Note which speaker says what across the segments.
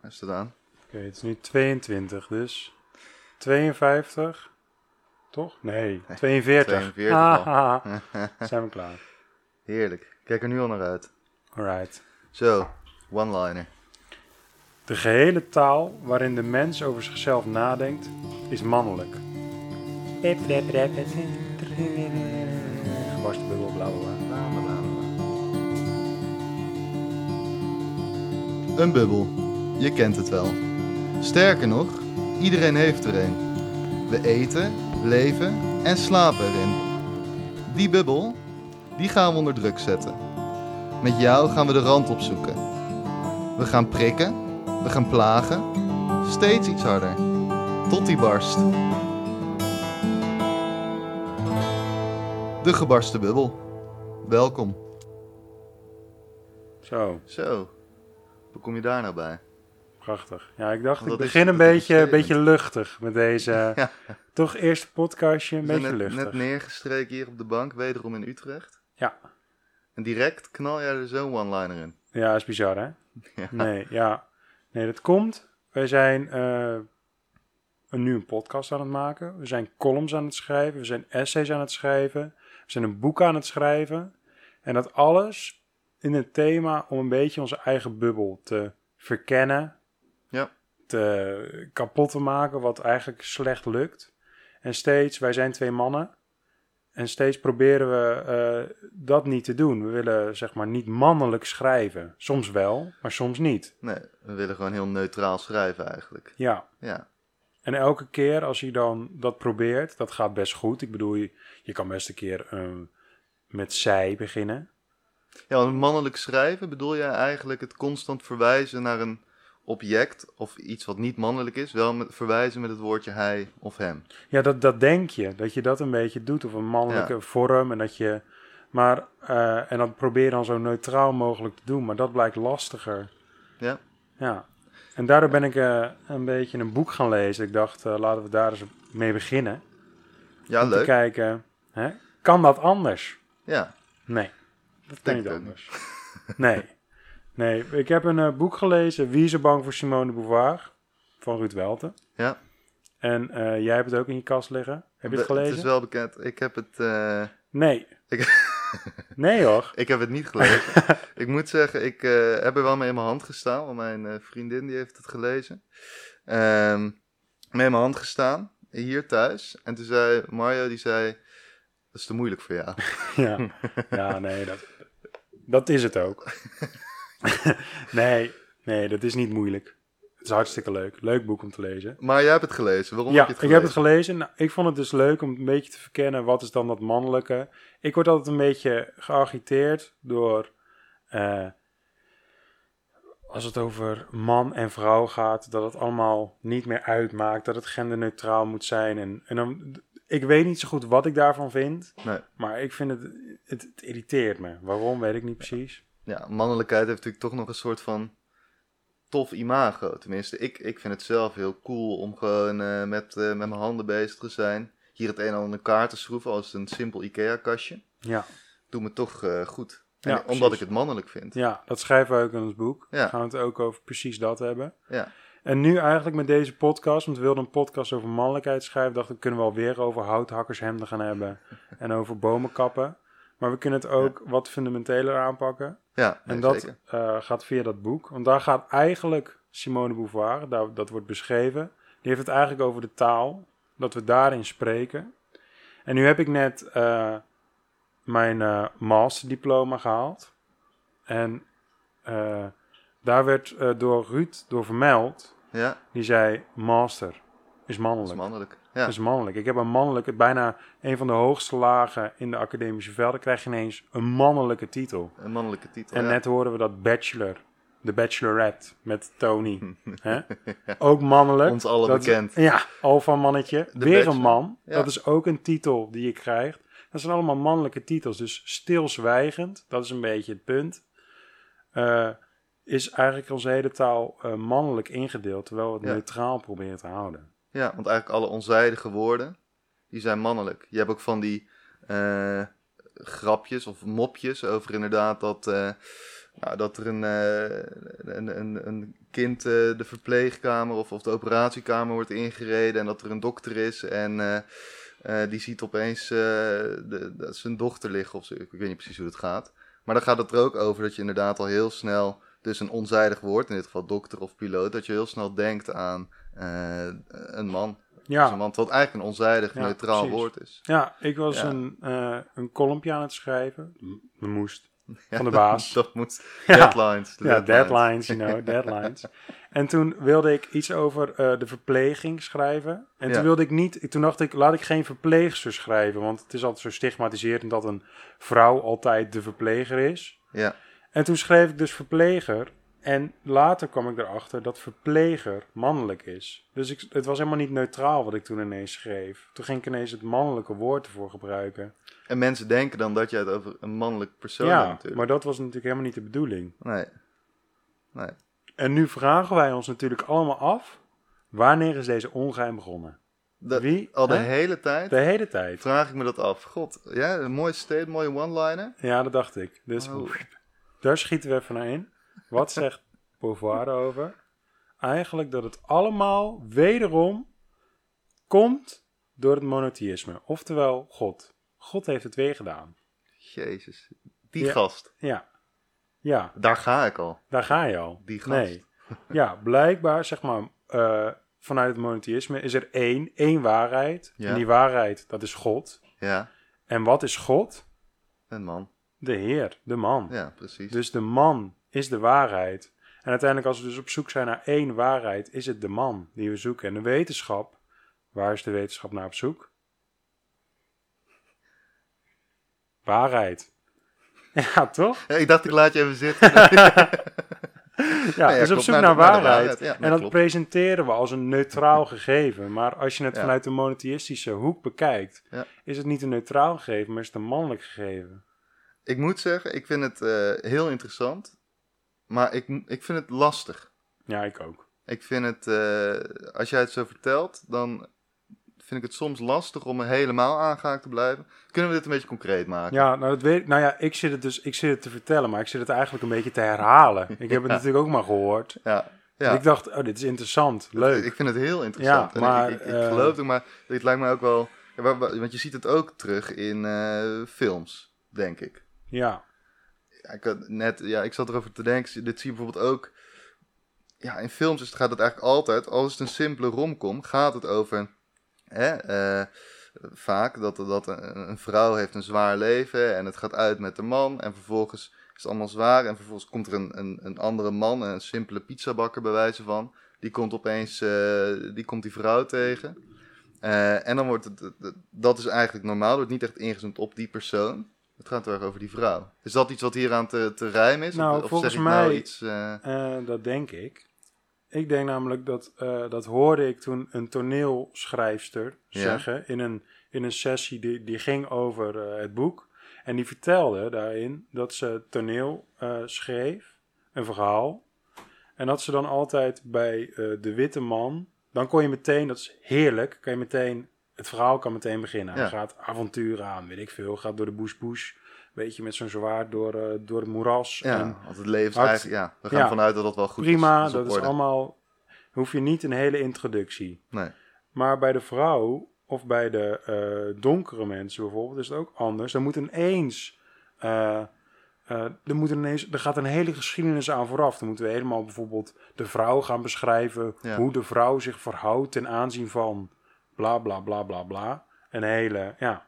Speaker 1: Hij staat aan.
Speaker 2: Oké, het is nu 22, dus 52, toch? Nee, 42.
Speaker 1: 42
Speaker 2: Haha. zijn we klaar.
Speaker 1: Heerlijk. Kijk er nu al naar uit.
Speaker 2: Alright.
Speaker 1: Zo, one-liner.
Speaker 2: De gehele taal waarin de mens over zichzelf nadenkt, is mannelijk. Gebarsten bubbel, bla bla bla.
Speaker 1: Bla, bla, bla, bla. Een bubbel. Je kent het wel. Sterker nog, iedereen heeft er een. We eten, leven en slapen erin. Die bubbel, die gaan we onder druk zetten. Met jou gaan we de rand opzoeken. We gaan prikken, we gaan plagen, steeds iets harder. Tot die barst. De gebarsten bubbel. Welkom.
Speaker 2: Zo,
Speaker 1: Zo, hoe kom je daar nou bij?
Speaker 2: prachtig. Ja, ik dacht,
Speaker 1: Want
Speaker 2: ik
Speaker 1: dat is-
Speaker 2: begin een
Speaker 1: dat is een
Speaker 2: beetje, een
Speaker 1: statement.
Speaker 2: beetje luchtig met deze.
Speaker 1: Ja.
Speaker 2: Toch eerste podcastje, een
Speaker 1: We zijn
Speaker 2: beetje
Speaker 1: net,
Speaker 2: luchtig.
Speaker 1: net neergestreken hier op de bank, wederom in Utrecht.
Speaker 2: Ja.
Speaker 1: En direct knal jij er zo'n one-liner in.
Speaker 2: Ja, is bizar, hè?
Speaker 1: Ja.
Speaker 2: Nee, ja. Nee, dat komt. Wij zijn eh, een, nu een podcast aan het maken. We zijn columns aan het schrijven. We zijn essays aan het schrijven. We zijn een boek aan het schrijven. En dat alles in het thema om een beetje onze eigen bubbel te verkennen.
Speaker 1: Ja.
Speaker 2: Te eh, kapot te maken, wat eigenlijk slecht lukt. En steeds, wij zijn twee mannen. En steeds proberen we eh, dat niet te doen. We willen zeg maar niet mannelijk schrijven. Soms wel, maar soms niet.
Speaker 1: Nee, we willen gewoon heel neutraal schrijven eigenlijk.
Speaker 2: Ja.
Speaker 1: Ja,
Speaker 2: En elke keer als je dan dat probeert, dat gaat best goed. Ik bedoel, je, je kan best een keer eh, met zij beginnen.
Speaker 1: ja want mannelijk schrijven bedoel jij eigenlijk het constant verwijzen naar een object of iets wat niet mannelijk is, wel met, verwijzen met het woordje hij of hem.
Speaker 2: Ja, dat, dat denk je. Dat je dat een beetje doet. Of een mannelijke vorm. En dat je. Maar. eh, en dat probeer je dan zo neutraal mogelijk te doen. Maar dat blijkt lastiger.
Speaker 1: Ja,
Speaker 2: Ja. En daardoor ben ik eh, een beetje een boek gaan lezen. Ik dacht, eh, laten we daar eens mee beginnen.
Speaker 1: ja
Speaker 2: Om te
Speaker 1: Ah, leuk.
Speaker 2: kijken. Hè? Kan dat anders?
Speaker 1: Ja,
Speaker 2: Nee. Dat kan
Speaker 1: Denk
Speaker 2: niet
Speaker 1: ik ook
Speaker 2: anders. nee. Nee. Ik heb een eh, boek gelezen. Wie is er bang voor Simone de Beauvoir? Van Ruud Welten.
Speaker 1: ja.
Speaker 2: En eh, jij hebt het ook in je kast liggen. Heb je het
Speaker 1: Be-
Speaker 2: gelezen?
Speaker 1: Het is wel bekend. Ik heb het... eh,
Speaker 2: Nee.
Speaker 1: Ik-
Speaker 2: nee hoor.
Speaker 1: Ik heb het niet gelezen. ik moet zeggen, ik eh, heb er wel mee in mijn hand gestaan. Want mijn eh, vriendin die heeft het gelezen. Ehm, mee in mijn hand gestaan, hier thuis. En toen zei Mario, die zei... Dat is te moeilijk voor jou.
Speaker 2: Ja, ja nee, dat, dat is het ook. nee, nee, dat is niet moeilijk. Het is hartstikke leuk. Leuk boek om te lezen.
Speaker 1: Maar jij hebt het gelezen. Waarom
Speaker 2: ja,
Speaker 1: heb je het
Speaker 2: ik heb
Speaker 1: gelezen?
Speaker 2: het gelezen. Nou, ik vond het dus leuk om een beetje te verkennen wat is dan dat mannelijke. Ik word altijd een beetje geagiteerd door. eh, als het over man en vrouw gaat, dat het allemaal niet meer uitmaakt, dat het genderneutraal moet zijn. En, en dan, ik weet niet zo goed wat ik daarvan vind,
Speaker 1: Nee.
Speaker 2: maar ik vind het, het, het irriteert me. Waarom, weet ik niet precies.
Speaker 1: Ja, mannelijkheid heeft natuurlijk toch nog een soort van tof imago. Tenminste, ik, ik vind het zelf heel cool om gewoon eh, met, eh, met mijn handen bezig te zijn. Hier het een en ander in elkaar te schroeven als een simpel Ikea-kastje.
Speaker 2: Ja,
Speaker 1: Doet me toch eh, goed. En
Speaker 2: Ja,
Speaker 1: omdat
Speaker 2: precies.
Speaker 1: ik het mannelijk vind.
Speaker 2: ja dat schrijven we ook in ons boek.
Speaker 1: Ja.
Speaker 2: Gaan we het ook over precies dat hebben.
Speaker 1: Ja.
Speaker 2: En nu eigenlijk met deze podcast, want we wilden een podcast over mannelijkheid schrijven, dacht ik kunnen we alweer over houthakkershemden gaan hebben en over bomen kappen. Maar we kunnen het ook wat fundamenteler aanpakken.
Speaker 1: Ja,
Speaker 2: En
Speaker 1: nee,
Speaker 2: dat
Speaker 1: zeker.
Speaker 2: eh, gaat via dat boek. Want daar gaat eigenlijk Simone de Beauvoir, daar, dat wordt beschreven, die heeft het eigenlijk over de taal, dat we daarin spreken. En nu heb ik net eh, mijn eh, masterdiploma gehaald. En eh, daar werd eh, door Ruud door vermeld
Speaker 1: Ja, dat
Speaker 2: die zei: Master is
Speaker 1: is
Speaker 2: mannelijk. Dus-
Speaker 1: mannelijk. Ja,
Speaker 2: Is mannelijk. Ik heb een mannelijke, bijna een van de hoogste lagen in de academische velden. Krijg je ineens een mannelijke titel.
Speaker 1: een mannelijke titel.
Speaker 2: En
Speaker 1: ja.
Speaker 2: net hoorden we dat Bachelor, de Bachelorette met Tony. hè? Ook mannelijk.
Speaker 1: Ons allen
Speaker 2: dat,
Speaker 1: bekend.
Speaker 2: Ja, alfa mannetje. Weer
Speaker 1: Bachelor,
Speaker 2: een man.
Speaker 1: ja.
Speaker 2: Dat is ook een titel die je krijgt. Dat zijn allemaal mannelijke titels. Dus stilzwijgend, dat is een beetje het punt. eh, is eigenlijk onze hele taal eh, mannelijk ingedeeld, terwijl we het
Speaker 1: Ja.
Speaker 2: neutraal proberen te houden.
Speaker 1: Ja, want eigenlijk alle onzijdige woorden, die zijn mannelijk. Je hebt ook van die eh, grapjes of mopjes over inderdaad dat... eh, Nou, dat er een, eh, een, een, een kind eh, de verpleegkamer of, of de operatiekamer wordt ingereden en dat er een dokter is en eh, eh, die ziet opeens eh, de, dat zijn dochter liggen of zo. Ik weet niet precies hoe het gaat. Maar dan gaat het er ook over dat je inderdaad al heel snel, dus een onzijdig woord, in dit geval dokter of piloot, dat je heel snel denkt aan eh, een man. Dus een
Speaker 2: Ja,
Speaker 1: man, wat eigenlijk een onzijdig,
Speaker 2: Ja,
Speaker 1: neutraal
Speaker 2: precies.
Speaker 1: woord is.
Speaker 2: ja ik was
Speaker 1: Ja.
Speaker 2: een, eh, een kolompje aan het schrijven. Dat moest.
Speaker 1: Ja,
Speaker 2: Van de baas.
Speaker 1: Dat, moet.
Speaker 2: Ja.
Speaker 1: Deadlines. de
Speaker 2: Ja, deadlines, you know, deadlines. En toen wilde ik iets over eh, de verpleging schrijven. En
Speaker 1: Ja.
Speaker 2: toen wilde ik niet, toen dacht ik, laat ik geen verpleegster schrijven. Want het is altijd zo stigmatiserend dat een vrouw altijd de verpleger is.
Speaker 1: Ja,
Speaker 2: En toen schreef ik dus verpleger. En later kwam ik erachter dat verpleger mannelijk is. Dus ik, het was helemaal niet neutraal wat ik toen ineens schreef. Toen ging ik ineens het mannelijke woord ervoor gebruiken.
Speaker 1: en mensen denken dan dat je het over een mannelijk persoon hebt
Speaker 2: ja,
Speaker 1: natuurlijk.
Speaker 2: maar dat was natuurlijk helemaal niet de bedoeling.
Speaker 1: Nee. Nee.
Speaker 2: En nu vragen wij ons natuurlijk allemaal af: wanneer is deze ongeheim begonnen?
Speaker 1: Dat-
Speaker 2: Wie?
Speaker 1: Al de
Speaker 2: Hè?
Speaker 1: hele tijd
Speaker 2: De hele tijd.
Speaker 1: vraag ik me dat af. God, ja, een mooi state, mooie one-liner.
Speaker 2: Ja, dat dacht ik. Dus
Speaker 1: Oh.
Speaker 2: daar schieten we even naar in. Wat zegt Beauvoir over? Eigenlijk dat het allemaal wederom komt door het monotheïsme. Oftewel God. God heeft het weer gedaan.
Speaker 1: Jezus. Die
Speaker 2: Ja.
Speaker 1: gast.
Speaker 2: Ja. Ja,
Speaker 1: Daar ga ik al.
Speaker 2: daar ga je al.
Speaker 1: Die gast.
Speaker 2: Nee. Ja, blijkbaar, zeg maar, eh, vanuit het monotheïsme is er één, één waarheid.
Speaker 1: Ja.
Speaker 2: En die waarheid, dat is God.
Speaker 1: Ja,
Speaker 2: En wat is God?
Speaker 1: een man.
Speaker 2: De Heer, de man.
Speaker 1: Ja, precies.
Speaker 2: Dus de man is de waarheid. En uiteindelijk, als we dus op zoek zijn naar één waarheid, is het de man die we zoeken. En de wetenschap, waar is de wetenschap naar op zoek? Waarheid. Ja, toch?
Speaker 1: Ja, ik dacht, ik laat je even zitten.
Speaker 2: Ja,
Speaker 1: ja,
Speaker 2: dus op
Speaker 1: klopt,
Speaker 2: zoek naar,
Speaker 1: naar de- naar de
Speaker 2: waarheid.
Speaker 1: waarheid. Ja,
Speaker 2: en
Speaker 1: nee,
Speaker 2: dat
Speaker 1: klopt.
Speaker 2: presenteren we als een neutraal gegeven. Maar als je het
Speaker 1: Ja.
Speaker 2: vanuit de monotheïstische hoek bekijkt,
Speaker 1: Ja.
Speaker 2: is het niet een neutraal gegeven, maar is het een mannelijk gegeven.
Speaker 1: ik moet zeggen, ik vind het eh, heel interessant. Maar ik, ik vind het lastig.
Speaker 2: Ja, ik ook.
Speaker 1: Ik vind het, eh, als jij het zo vertelt, dan vind ik het soms lastig om er helemaal aangehaakt te blijven. Kunnen we dit een beetje concreet maken?
Speaker 2: Ja, nou, dat weet ik. Nou ja, ik zit het dus ik zit het te vertellen, maar ik zit het eigenlijk een beetje te herhalen. Ik heb het natuurlijk ook maar gehoord.
Speaker 1: Ja.
Speaker 2: Ik dacht, oh, dit is interessant, leuk.
Speaker 1: Ik vind het heel interessant.
Speaker 2: Ja, maar,
Speaker 1: en ik, ik, ik
Speaker 2: eh,
Speaker 1: geloof het, maar dit lijkt mij ook wel... ja, wa- wa- Want je ziet het ook terug in eh, films, denk ik.
Speaker 2: Ja,
Speaker 1: Ja, ik, had net, ja, ik zat erover te denken, dit zie je bijvoorbeeld ook... Ja, in films is, gaat het eigenlijk altijd, al is het een simpele romcom, gaat het over... Hè, eh, vaak dat, dat een, een vrouw heeft een zwaar leven en het gaat uit met de man. En vervolgens is het allemaal zwaar. En vervolgens komt er een, een, een andere man, een simpele pizzabakker bij wijze van. Die komt opeens, eh, die komt die vrouw tegen. Eh, en dan wordt het, het- het- dat is eigenlijk normaal, er wordt niet echt ingezoomd op die persoon. Het gaat heel erg over die vrouw. Is dat iets wat hieraan te, te rijmen is?
Speaker 2: Nou,
Speaker 1: of, of
Speaker 2: volgens
Speaker 1: zeg ik nou
Speaker 2: mij-
Speaker 1: iets... eh,
Speaker 2: eh, dat denk ik. Ik denk namelijk dat, eh, dat hoorde ik toen een toneelschrijfster
Speaker 1: Ja.
Speaker 2: zeggen in een, in een sessie die, die ging over eh, het boek. En die vertelde daarin dat ze toneel eh, schreef, een verhaal. En dat ze dan altijd bij eh, de witte man, dan kon je meteen, dat is heerlijk, kan je meteen, het verhaal kan meteen beginnen. Hij
Speaker 1: Ja.
Speaker 2: gaat avonturen aan, weet ik veel, gaat door de bush-bush, beetje met zo'n zwaard door, eh, door het moeras.
Speaker 1: ja,
Speaker 2: En
Speaker 1: want het leven is
Speaker 2: hard-
Speaker 1: eigenlijk... Ja, we gaan
Speaker 2: ja.
Speaker 1: vanuit dat dat wel goed
Speaker 2: prima,
Speaker 1: is.
Speaker 2: dat
Speaker 1: op
Speaker 2: is
Speaker 1: orde.
Speaker 2: allemaal. Hoef je niet een hele introductie.
Speaker 1: Nee.
Speaker 2: Maar bij de vrouw of bij de eh, donkere mensen bijvoorbeeld is het ook anders. Er moet ineens. eh, eh, er, moet ineens, er gaat een hele geschiedenis aan vooraf. Dan moeten we helemaal bijvoorbeeld de vrouw gaan beschrijven.
Speaker 1: Ja.
Speaker 2: Hoe de vrouw zich verhoudt ten aanzien van bla bla bla bla bla. Een hele, ja,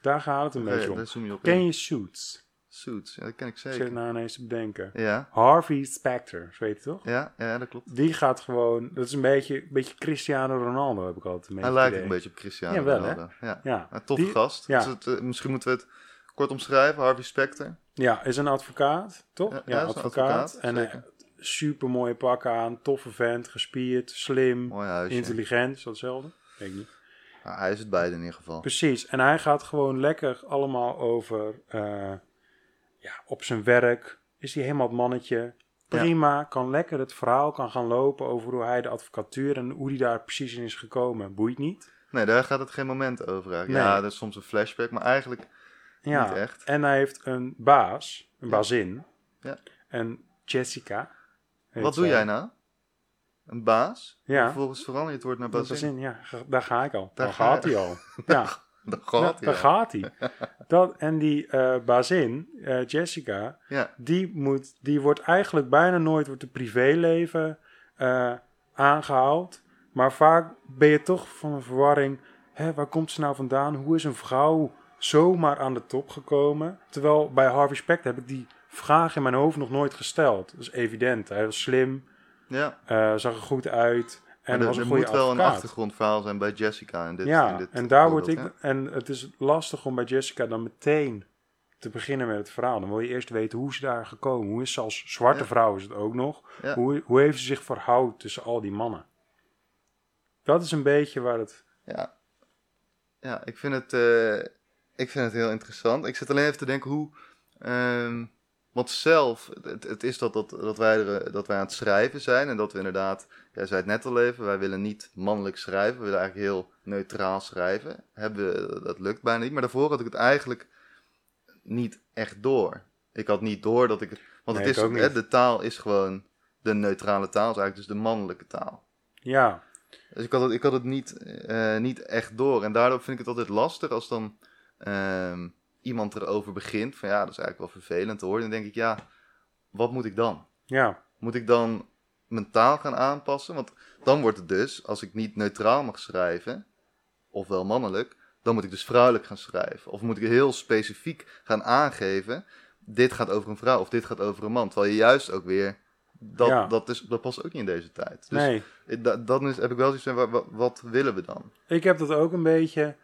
Speaker 2: daar gaat het een
Speaker 1: Nee,
Speaker 2: beetje om.
Speaker 1: daar zoom je op in.
Speaker 2: Ken je Suits?
Speaker 1: Suits, ja, dat ken ik
Speaker 2: Ik zit
Speaker 1: zeker.
Speaker 2: er nou ineens te bedenken.
Speaker 1: Ja,
Speaker 2: Harvey Specter, zo heet het toch?
Speaker 1: ja, ja, dat klopt.
Speaker 2: Die gaat gewoon. Dat is een beetje, een beetje Cristiano Ronaldo, heb ik altijd een beetje.
Speaker 1: Hij lijkt
Speaker 2: het
Speaker 1: ook
Speaker 2: idee.
Speaker 1: een beetje op Cristiano
Speaker 2: Jawel, hè?
Speaker 1: Ronaldo. Ja.
Speaker 2: Ja,
Speaker 1: Een toffe
Speaker 2: Die-
Speaker 1: gast.
Speaker 2: ja.
Speaker 1: Dus het, eh, misschien moeten we het kort omschrijven. Harvey Specter.
Speaker 2: ja, is een advocaat, toch?
Speaker 1: Ja,
Speaker 2: Ja,
Speaker 1: ja, is een
Speaker 2: advocaat.
Speaker 1: advocaat,
Speaker 2: En een super mooie pak aan, toffe vent, gespierd, slim,
Speaker 1: Mooi huisje.
Speaker 2: intelligent, is dat hetzelfde? Weet ik niet.
Speaker 1: Ja, hij is het beide in ieder geval.
Speaker 2: Precies, en hij gaat gewoon lekker allemaal over eh, ja, op zijn werk. Is hij helemaal het mannetje? Prima, kan lekker het verhaal kan gaan lopen over hoe hij de advocatuur en hoe hij daar precies in is gekomen. Boeit niet.
Speaker 1: Nee, daar gaat het geen moment over eigenlijk.
Speaker 2: Nee.
Speaker 1: Ja, dat is soms een flashback, maar eigenlijk
Speaker 2: Ja.
Speaker 1: niet echt.
Speaker 2: En hij heeft een baas, een bazin.
Speaker 1: Ja.
Speaker 2: En Jessica. heet
Speaker 1: Wat doe
Speaker 2: zij.
Speaker 1: jij nou? Een baas?
Speaker 2: Ja,
Speaker 1: Vervolgens verander je het woord naar
Speaker 2: dat is
Speaker 1: bazin.
Speaker 2: in. Ja, ga- daar ga ik al.
Speaker 1: Daar
Speaker 2: Daar,
Speaker 1: ga
Speaker 2: gaat
Speaker 1: je-
Speaker 2: hij al. Ja,
Speaker 1: Dat
Speaker 2: nou,
Speaker 1: gaat
Speaker 2: daar
Speaker 1: ja.
Speaker 2: gaat hij. Dat, en die eh, bazin, eh, Jessica,
Speaker 1: Ja,
Speaker 2: die, moet, die wordt eigenlijk bijna nooit, wordt het privéleven eh, aangehaald. Maar vaak ben je toch van een verwarring. Hè, waar komt ze nou vandaan? Hoe is een vrouw zomaar aan de top gekomen? Terwijl bij Harvey Specter heb ik die vraag in mijn hoofd nog nooit gesteld. Dat is evident. Hij was slim,
Speaker 1: ja.
Speaker 2: eh, zag er goed uit en
Speaker 1: En er,
Speaker 2: was een
Speaker 1: er
Speaker 2: goede
Speaker 1: moet wel een
Speaker 2: advocaat.
Speaker 1: achtergrondverhaal zijn bij Jessica. In dit, in
Speaker 2: ja,
Speaker 1: dit
Speaker 2: en daar word ik.
Speaker 1: voorbeeld,
Speaker 2: En het is lastig om bij Jessica dan meteen te beginnen met het verhaal. Dan wil je eerst weten hoe ze daar gekomen. Hoe is ze als zwarte
Speaker 1: Ja.
Speaker 2: vrouw is het ook nog?
Speaker 1: Ja.
Speaker 2: Hoe, hoe heeft ze zich verhouden tussen al die mannen? Dat is een beetje waar het.
Speaker 1: ja. Ja. Ja, ik vind, het, eh, ik vind het heel interessant. Ik zit alleen even te denken hoe... ehm, want zelf, het, het is dat, dat, dat, wij er, eh, dat wij aan het schrijven zijn. En dat we inderdaad, jij zei het net al even, wij willen niet mannelijk schrijven. We willen eigenlijk heel neutraal schrijven. Hebben, we- eh, dat lukt bijna niet. Maar daarvoor had ik het eigenlijk niet echt door. Ik had niet door dat ik... het- Want
Speaker 2: Nee,
Speaker 1: het
Speaker 2: ik ook
Speaker 1: is,
Speaker 2: niet.
Speaker 1: hè, de taal is gewoon de neutrale taal. is eigenlijk dus de mannelijke taal.
Speaker 2: Ja,
Speaker 1: Dus ik had het, ik had het niet, eh, niet echt door. En daardoor vind ik het altijd lastig als dan ehm, iemand erover begint. Van ja, dat is eigenlijk wel vervelend te horen. Dan denk ik, ja, wat moet ik dan?
Speaker 2: ja,
Speaker 1: Moet ik dan mijn taal gaan aanpassen? Want dan wordt het dus, als ik niet neutraal mag schrijven, ofwel mannelijk, dan moet ik dus vrouwelijk gaan schrijven. Of moet ik heel specifiek gaan aangeven, dit gaat over een vrouw of dit gaat over een man. Terwijl je juist ook weer, dat,
Speaker 2: Ja.
Speaker 1: dat, is, dat past ook niet in deze tijd. Dus
Speaker 2: nee.
Speaker 1: ik- da- dan is, heb ik wel zoiets van, wa- wa- wat willen we dan?
Speaker 2: Ik heb dat ook een beetje.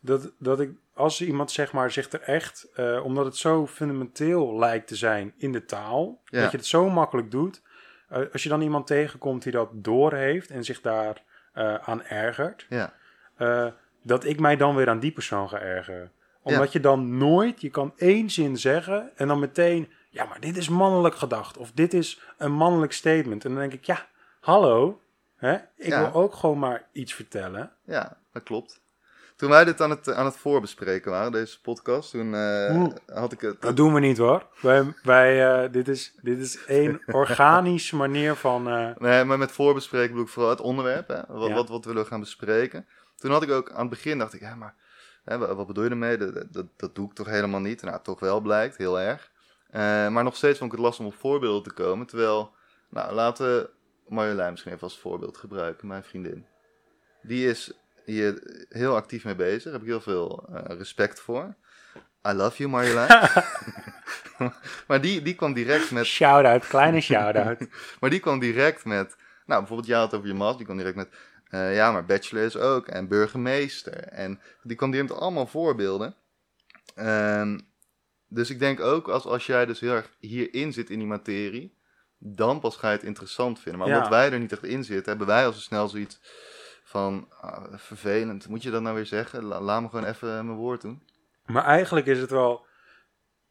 Speaker 2: Dat, dat ik, als iemand zeg maar zich er echt, eh, omdat het zo fundamenteel lijkt te zijn in de taal,
Speaker 1: Ja.
Speaker 2: dat je het zo makkelijk doet. eh, als je dan iemand tegenkomt die dat doorheeft en zich daar eh, aan ergert,
Speaker 1: Ja,
Speaker 2: eh, dat ik mij dan weer aan die persoon ga ergeren. Omdat je dan nooit, je kan één zin zeggen en dan meteen, ja, maar dit is mannelijk gedacht of dit is een mannelijk statement. En dan denk ik, ja, hallo, hè? ik
Speaker 1: Ja.
Speaker 2: wil ook gewoon maar iets vertellen.
Speaker 1: ja, dat klopt. Toen wij dit aan het, eh, aan het voorbespreken waren, deze podcast, toen eh,
Speaker 2: Oeh.
Speaker 1: had ik het...
Speaker 2: Dat doen we niet hoor. Wij, wij, eh, dit, is, dit is een organische manier van. eh,
Speaker 1: Nee, maar met voorbespreken bedoel ik vooral het onderwerp, hè? Wat,
Speaker 2: Ja.
Speaker 1: wat, wat willen we gaan bespreken? Toen had ik ook, aan het begin dacht ik, ja, maar hè, wa- wat bedoel je ermee? Dat, dat, dat doe ik toch helemaal niet? Nou, toch wel blijkt, heel erg. Eh, maar nog steeds vond ik het lastig om op voorbeelden te komen, terwijl... Nou, laten we Marjolein misschien even als voorbeeld gebruiken, mijn vriendin. Die is hier heel actief mee bezig. Daar heb ik heel veel eh, respect voor. I love you, Marjolein. maar die, die kwam direct met...
Speaker 2: shout-out, kleine shout-out.
Speaker 1: Maar die kwam direct met, nou bijvoorbeeld jij had het over je master, die kwam direct met, eh, ja maar bachelor is ook en burgemeester. En die kwam direct met allemaal voorbeelden. Ehm, dus ik denk ook als, als jij dus heel erg hierin zit in die materie, dan pas ga je het interessant vinden. Maar
Speaker 2: Ja.
Speaker 1: omdat wij er niet echt in zitten, hebben wij al zo snel zoiets van, ah, vervelend, moet je dat nou weer zeggen? La- laat me gewoon even mijn woord doen.
Speaker 2: Maar eigenlijk is het wel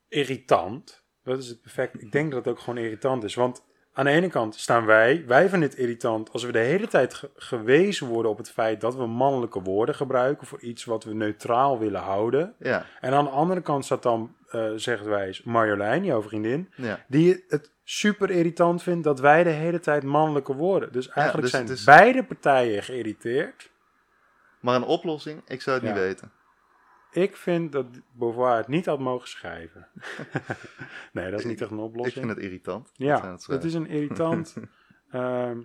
Speaker 2: irritant. Dat is het perfect. Ik denk dat het ook gewoon irritant is. Want aan de ene kant staan wij, wij vinden het irritant als we de hele tijd ge- gewezen worden op het feit dat we mannelijke woorden gebruiken voor iets wat we neutraal willen houden.
Speaker 1: Ja,
Speaker 2: En aan de andere kant staat dan, eh zegt wij, Marjolein, jouw vriendin.
Speaker 1: ja.
Speaker 2: die het super irritant vindt dat wij de hele tijd mannelijke woorden. Dus eigenlijk
Speaker 1: dus
Speaker 2: zijn
Speaker 1: het is-
Speaker 2: beide partijen geïrriteerd.
Speaker 1: Maar een oplossing, ik zou het
Speaker 2: Ja.
Speaker 1: niet weten.
Speaker 2: Ik vind dat Beauvoir het niet had mogen schrijven. nee, dat is niet echt een
Speaker 1: Ik
Speaker 2: oplossing.
Speaker 1: vind het irritant.
Speaker 2: ja,
Speaker 1: aan
Speaker 2: dat,
Speaker 1: het schrijven.
Speaker 2: is een irritant. ehm,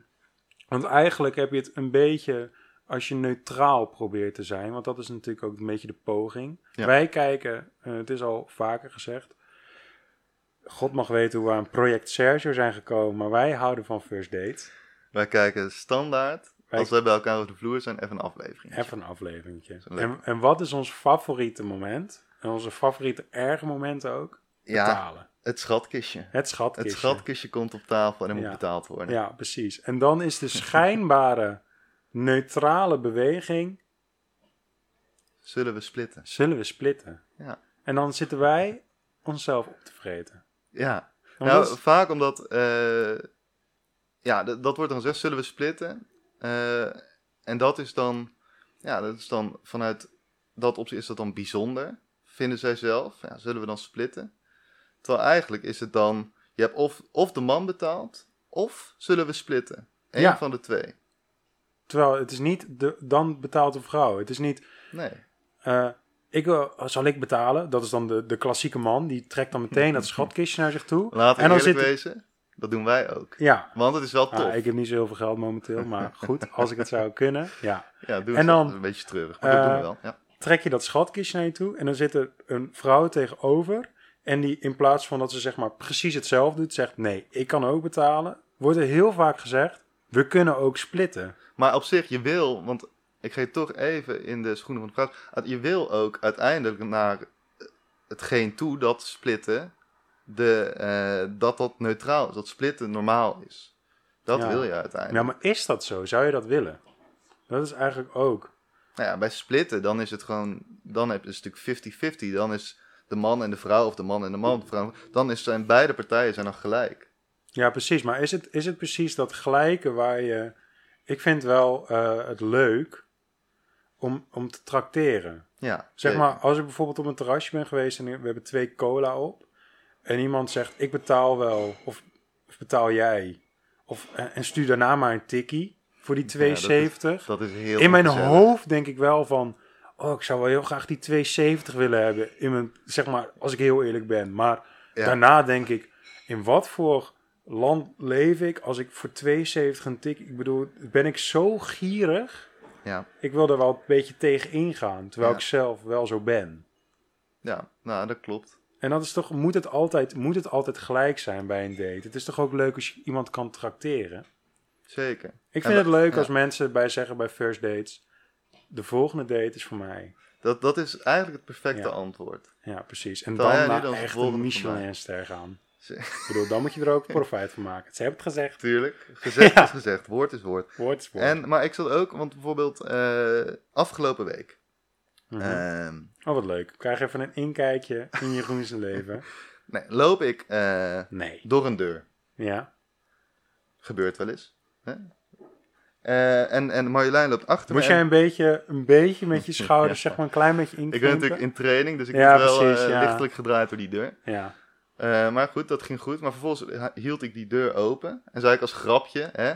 Speaker 2: want eigenlijk heb je het een beetje als je neutraal probeert te zijn, want dat is natuurlijk ook een beetje de poging.
Speaker 1: Ja.
Speaker 2: Wij kijken, eh, het is al vaker gezegd. God mag weten hoe we aan Project Sergio zijn gekomen, maar wij houden van First Date.
Speaker 1: Wij kijken standaard,
Speaker 2: Wij-
Speaker 1: als wij bij elkaar over de vloer zijn, even een aflevering.
Speaker 2: Even een afleveringetje.
Speaker 1: Zo lekker.
Speaker 2: En, en wat is ons favoriete moment? En onze favoriete erge momenten ook?
Speaker 1: ja,
Speaker 2: Betalen.
Speaker 1: het schatkistje.
Speaker 2: Het schatkistje.
Speaker 1: Het schatkistje komt op tafel en er moet
Speaker 2: Ja.
Speaker 1: betaald worden.
Speaker 2: Ja, precies. En dan is de schijnbare neutrale beweging...
Speaker 1: Zullen we splitten?
Speaker 2: Zullen we splitten?
Speaker 1: Ja.
Speaker 2: En dan zitten wij onszelf op te vreten.
Speaker 1: Ja.
Speaker 2: Want
Speaker 1: nou,
Speaker 2: dat is-
Speaker 1: vaak omdat... eh, ja, d- dat wordt dan gezegd, zullen we splitten? Eh, en dat is dan... Ja, dat is dan vanuit dat optie is dat dan bijzonder. Vinden zij zelf. Ja, zullen we dan splitten? Terwijl eigenlijk is het dan... Je hebt of, of de man betaald, of zullen we splitten. Eén
Speaker 2: Ja.
Speaker 1: van de twee.
Speaker 2: Terwijl het is niet de, dan betaalt de vrouw. Het is niet
Speaker 1: Nee.
Speaker 2: Eh, ik, wil- zal ik betalen? Dat is dan de, de klassieke man. Die trekt dan meteen dat schatkistje naar zich toe.
Speaker 1: Laten we
Speaker 2: dan
Speaker 1: eerlijk wezen, dat doen wij ook.
Speaker 2: Ja,
Speaker 1: Want het is wel tof.
Speaker 2: Ah, ik heb niet zoveel geld momenteel. Maar goed, als ik het zou kunnen. Ja.
Speaker 1: Ja, doe
Speaker 2: en
Speaker 1: het. wel.
Speaker 2: dan,
Speaker 1: Dat is een beetje treurig, maar dat doen we
Speaker 2: eh,
Speaker 1: wel. Ja.
Speaker 2: Trek je dat schatkistje naar je toe. En dan zit er een vrouw tegenover. En die in plaats van dat ze zeg maar precies hetzelfde doet. Zegt nee, ik kan ook betalen. Wordt er heel vaak gezegd. We kunnen ook splitten.
Speaker 1: Maar op zich, je wil, want ik ga je toch even in de schoenen van de vraag. uit- Je wil ook uiteindelijk naar hetgeen toe dat splitten, de, eh, dat dat neutraal is, dat splitten normaal is. Dat
Speaker 2: Ja.
Speaker 1: wil je uiteindelijk.
Speaker 2: Ja, maar is dat zo? Zou je dat willen? Dat is eigenlijk ook.
Speaker 1: Nou ja, bij splitten, dan is het gewoon, dan heb je een stuk 50-50. Dan is de man en de vrouw, of de man en de man, de vrouw, dan is zijn beide partijen zijn dan gelijk.
Speaker 2: Ja, precies. Maar is het, is het precies dat gelijke waar je. Ik vind wel eh, het leuk om, om te trakteren.
Speaker 1: Ja,
Speaker 2: Zeg
Speaker 1: zeker.
Speaker 2: maar, als ik bijvoorbeeld op een terrasje ben geweest en we hebben twee cola op. En iemand zegt: Ik betaal wel. Of, of betaal jij. Of, "Eh, en en stuur daarna maar een tikkie voor die 2,70.
Speaker 1: Ja, dat is- Dat is heel
Speaker 2: in mijn
Speaker 1: gezellig.
Speaker 2: hoofd denk ik wel van. Oh, ik zou wel heel graag die 2,70 willen hebben. In mijn, zeg maar, als ik heel eerlijk ben. Maar
Speaker 1: Ja.
Speaker 2: daarna denk ik, in wat voor land leef ik als ik voor 72 een tik... Ik bedoel, ben ik zo gierig?
Speaker 1: Ja,
Speaker 2: Ik wil er wel een beetje tegen ingaan, terwijl
Speaker 1: Ja.
Speaker 2: ik zelf wel zo ben.
Speaker 1: ja, nou, dat klopt.
Speaker 2: En dat is toch, moet het, altijd, moet het altijd gelijk zijn bij een date? Het is toch ook leuk als je iemand kan trakteren?
Speaker 1: Zeker.
Speaker 2: Ik
Speaker 1: En
Speaker 2: vind
Speaker 1: dat-
Speaker 2: het leuk
Speaker 1: ja.
Speaker 2: als mensen bij zeggen bij first dates... De volgende date is voor mij.
Speaker 1: Dat, dat is eigenlijk het perfecte
Speaker 2: Ja.
Speaker 1: antwoord.
Speaker 2: Ja, precies. En
Speaker 1: Terwijl jij
Speaker 2: dan
Speaker 1: nu
Speaker 2: naar
Speaker 1: dan
Speaker 2: echt een
Speaker 1: volgende voorbij.
Speaker 2: Michelinster gaan.
Speaker 1: Ze-
Speaker 2: Ik bedoel, dan moet je er ook profijt van maken. Ze hebben het gezegd.
Speaker 1: Tuurlijk. Gezegd is gezegd, woord is woord.
Speaker 2: Woord is woord.
Speaker 1: En, maar ik zat ook, want bijvoorbeeld eh, afgelopen week.
Speaker 2: Mhm.
Speaker 1: ehm,
Speaker 2: Oh, wat leuk. Ik krijg even een inkijkje in Jeroen's leven.
Speaker 1: nee, loop ik eh,
Speaker 2: Nee.
Speaker 1: door een deur.
Speaker 2: Ja.
Speaker 1: Gebeurt wel eens. Hè? Eh, en, en Marjolein loopt achter
Speaker 2: Moest
Speaker 1: me. en-
Speaker 2: jij een beetje, een beetje met je schouders, zeg maar, een klein beetje
Speaker 1: Ik
Speaker 2: inkrimpen?
Speaker 1: ben natuurlijk in training, dus ik
Speaker 2: Ja,
Speaker 1: heb wel
Speaker 2: precies,
Speaker 1: eh,
Speaker 2: ja.
Speaker 1: lichtelijk gedraaid door die deur.
Speaker 2: Ja.
Speaker 1: Eh, maar goed, dat ging goed. Maar vervolgens ha- hield ik die deur open en zei ik als grapje, hè,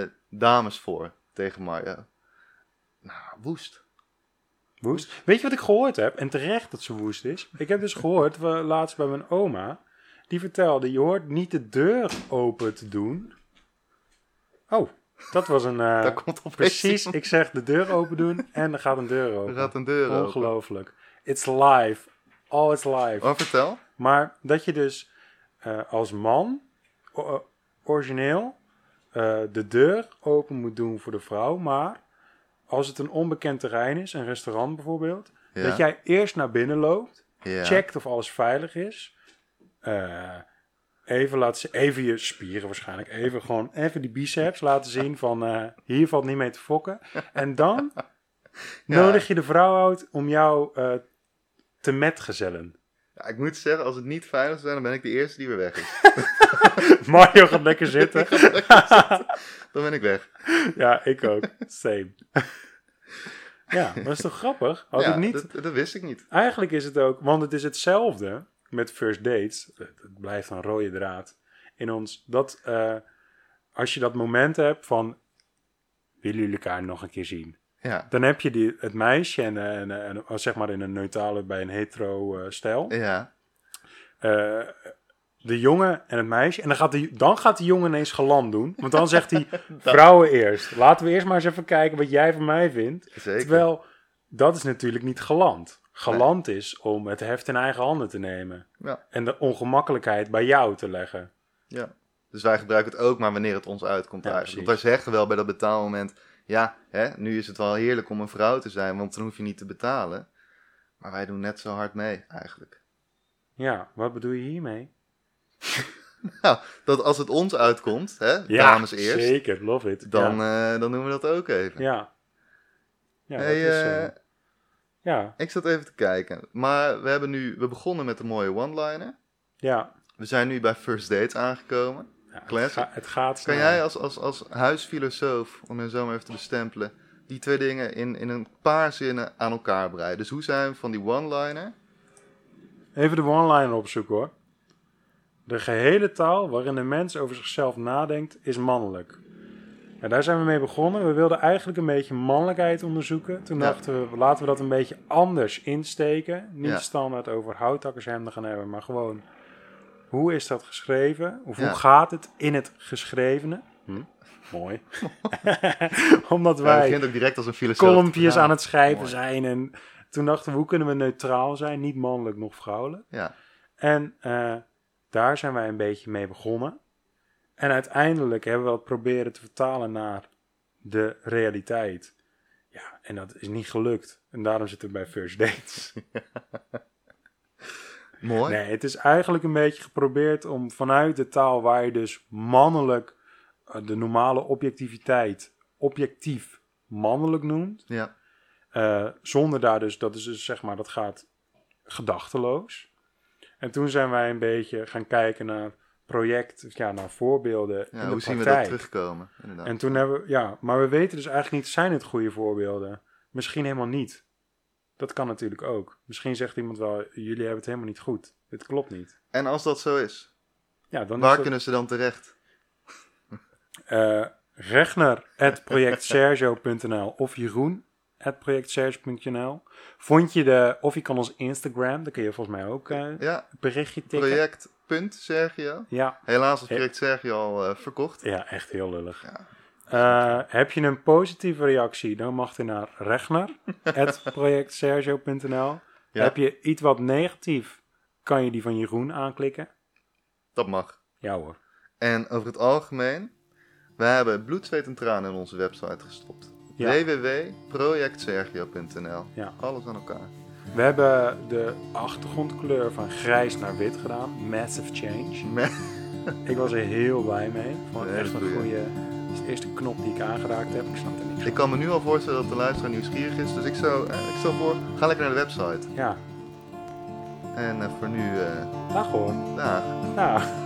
Speaker 1: eh, dames voor tegen Mario. Nou, woest.
Speaker 2: Woest. Weet je wat ik gehoord heb? En terecht dat ze woest is. Ik heb dus gehoord, we, laatst bij mijn oma, die vertelde, je hoort niet de deur open te doen. Oh, dat was een... eh,
Speaker 1: Daar komt op
Speaker 2: precies, ik zeg de deur open doen en er gaat een deur
Speaker 1: Er
Speaker 2: open.
Speaker 1: gaat een deur open.
Speaker 2: Ongelooflijk. It's live. All it's live.
Speaker 1: Maar Oh, vertel.
Speaker 2: Maar dat je dus eh, als man o- o- origineel eh, de deur open moet doen voor de vrouw. Maar als het een onbekend terrein is, een restaurant bijvoorbeeld,
Speaker 1: Ja.
Speaker 2: dat jij eerst naar binnen loopt,
Speaker 1: Ja.
Speaker 2: checkt of alles veilig is. eh, even, laat ze, even je spieren waarschijnlijk, even gewoon even die biceps laten zien van eh, hier valt niet mee te fokken. En dan nodig je de vrouw uit om jou eh, te metgezellen.
Speaker 1: Ja, ik moet zeggen, als het niet veilig zou zijn, dan ben ik de eerste die weer weg is.
Speaker 2: Mario gaat lekker zitten.
Speaker 1: Dan ben ik weg.
Speaker 2: Ja, ik ook. Same. Ja, maar dat is toch grappig? Had
Speaker 1: ja,
Speaker 2: ik niet.
Speaker 1: Dat, dat wist ik niet.
Speaker 2: Eigenlijk is het ook, want het is hetzelfde met first dates. Het het blijft een rode draad in ons. Dat eh, als je dat moment hebt van willen jullie elkaar nog een keer zien?
Speaker 1: Ja.
Speaker 2: Dan heb je die, het meisje en, eh, en, eh, en, oh, zeg maar in een neutrale bij een hetero eh, stijl.
Speaker 1: Ja.
Speaker 2: eh, de jongen en het meisje. En dan gaat, de, dan gaat de jongen ineens geland doen. Want dan zegt hij, vrouwen eerst. Laten we eerst maar eens even kijken wat jij van mij vindt.
Speaker 1: Zeker.
Speaker 2: Terwijl, dat is natuurlijk niet geland. Geland is om het heft in eigen handen te nemen.
Speaker 1: Ja.
Speaker 2: En de ongemakkelijkheid bij jou te leggen.
Speaker 1: ja. Dus wij gebruiken het ook maar wanneer het ons uitkomt
Speaker 2: Ja,
Speaker 1: eigenlijk. Want
Speaker 2: precies.
Speaker 1: wij zeggen wel bij dat betaalmoment... Ja, hè, nu is het wel heerlijk om een vrouw te zijn, want dan hoef je niet te betalen. Maar wij doen net zo hard mee eigenlijk.
Speaker 2: Ja, wat bedoel je hiermee?
Speaker 1: Nou, dat als het ons uitkomt, hè,
Speaker 2: Ja,
Speaker 1: dames eerst,
Speaker 2: zeker. Love it.
Speaker 1: dan,
Speaker 2: ja.
Speaker 1: eh, dan doen we dat ook even.
Speaker 2: ja. Ja,
Speaker 1: Hey,
Speaker 2: dat is,
Speaker 1: eh,
Speaker 2: eh, ja,
Speaker 1: ik zat even te kijken. Maar we hebben nu, we begonnen met de mooie one-liner.
Speaker 2: ja.
Speaker 1: We zijn nu bij first dates aangekomen.
Speaker 2: Ja, het,
Speaker 1: Classic.
Speaker 2: ga- het gaat
Speaker 1: Kan
Speaker 2: snel.
Speaker 1: jij als, als, als huisfilosoof, om je zo maar even te bestempelen, die twee dingen in, in een paar zinnen aan elkaar breien? Dus hoe zijn we van die one-liner?
Speaker 2: Even de one-liner opzoeken hoor. De gehele taal waarin de mens over zichzelf nadenkt is mannelijk. Ja, daar zijn we mee begonnen. We wilden eigenlijk een beetje mannelijkheid onderzoeken. Toen
Speaker 1: Ja.
Speaker 2: dachten we, laten we dat een beetje anders insteken. Niet
Speaker 1: Ja.
Speaker 2: standaard over houtakkershemden gaan hebben, maar gewoon... Hoe is dat geschreven? Of
Speaker 1: Ja.
Speaker 2: hoe gaat het in het geschrevene? Hm, mooi.
Speaker 1: Ja,
Speaker 2: Omdat
Speaker 1: het
Speaker 2: wij
Speaker 1: begint ook direct als een filosoof.
Speaker 2: kolompjes aan het schrijven
Speaker 1: Mooi.
Speaker 2: zijn. En toen dachten we, hoe kunnen we neutraal zijn? Niet mannelijk, nog vrouwelijk.
Speaker 1: Ja,
Speaker 2: En eh, daar zijn wij een beetje mee begonnen. En uiteindelijk hebben we dat proberen te vertalen naar de realiteit. Ja, en dat is niet gelukt. En daarom zitten we bij First Dates.
Speaker 1: mooi.
Speaker 2: Nee, het is eigenlijk een beetje geprobeerd om vanuit de taal waar je dus mannelijk eh, de normale objectiviteit objectief mannelijk noemt,
Speaker 1: Ja,
Speaker 2: eh, zonder daar dus, dat is dus zeg maar, dat gaat gedachteloos. En toen zijn wij een beetje gaan kijken naar project, ja, naar voorbeelden
Speaker 1: ja
Speaker 2: in de
Speaker 1: hoe zien we dat
Speaker 2: praktijk.
Speaker 1: terugkomen? Inderdaad.
Speaker 2: En toen hebben we, ja, maar we weten dus eigenlijk niet, zijn het goede voorbeelden? Misschien helemaal niet. Dat kan natuurlijk ook. Misschien zegt iemand wel, jullie hebben het helemaal niet goed. Dit klopt niet.
Speaker 1: En als dat zo is,
Speaker 2: Ja, dan
Speaker 1: waar
Speaker 2: is dat,
Speaker 1: kunnen ze dan terecht?
Speaker 2: eh regner.projectsergio.nl of jeroen.projectsergio.nl Vond je de, of je kan ons Instagram, daar kun je volgens mij ook eh,
Speaker 1: Ja,
Speaker 2: een berichtje tikken.
Speaker 1: project punt Sergio.
Speaker 2: Ja,
Speaker 1: Helaas is project Sergio al eh, verkocht.
Speaker 2: ja, echt heel lullig.
Speaker 1: Ja.
Speaker 2: Eh, heb je een positieve reactie, dan mag je naar regner.projectsergio.nl
Speaker 1: Ja.
Speaker 2: Heb je iets wat negatief, kan je die van Jeroen aanklikken.
Speaker 1: Dat mag.
Speaker 2: Ja hoor.
Speaker 1: En over het algemeen, we hebben bloed, zweet en tranen in onze website gestopt.
Speaker 2: Ja.
Speaker 1: www.projectsergio.nl
Speaker 2: Ja.
Speaker 1: Alles aan elkaar.
Speaker 2: We hebben de achtergrondkleur van grijs naar wit gedaan. Massive change.
Speaker 1: Me-
Speaker 2: Ik was er heel blij mee. Gewoon
Speaker 1: Ja,
Speaker 2: echt
Speaker 1: dat
Speaker 2: een
Speaker 1: doe
Speaker 2: goede. Het is de eerste knop die ik aangeraakt heb. Ik snap er niks
Speaker 1: Ik
Speaker 2: van.
Speaker 1: kan me nu al voorstellen dat de luisteraar nieuwsgierig is, dus ik zou, eh, ik zou voor, ga lekker naar de website.
Speaker 2: Ja,
Speaker 1: En eh, voor nu, eh
Speaker 2: dag hoor. Nou.
Speaker 1: dag.
Speaker 2: Ja.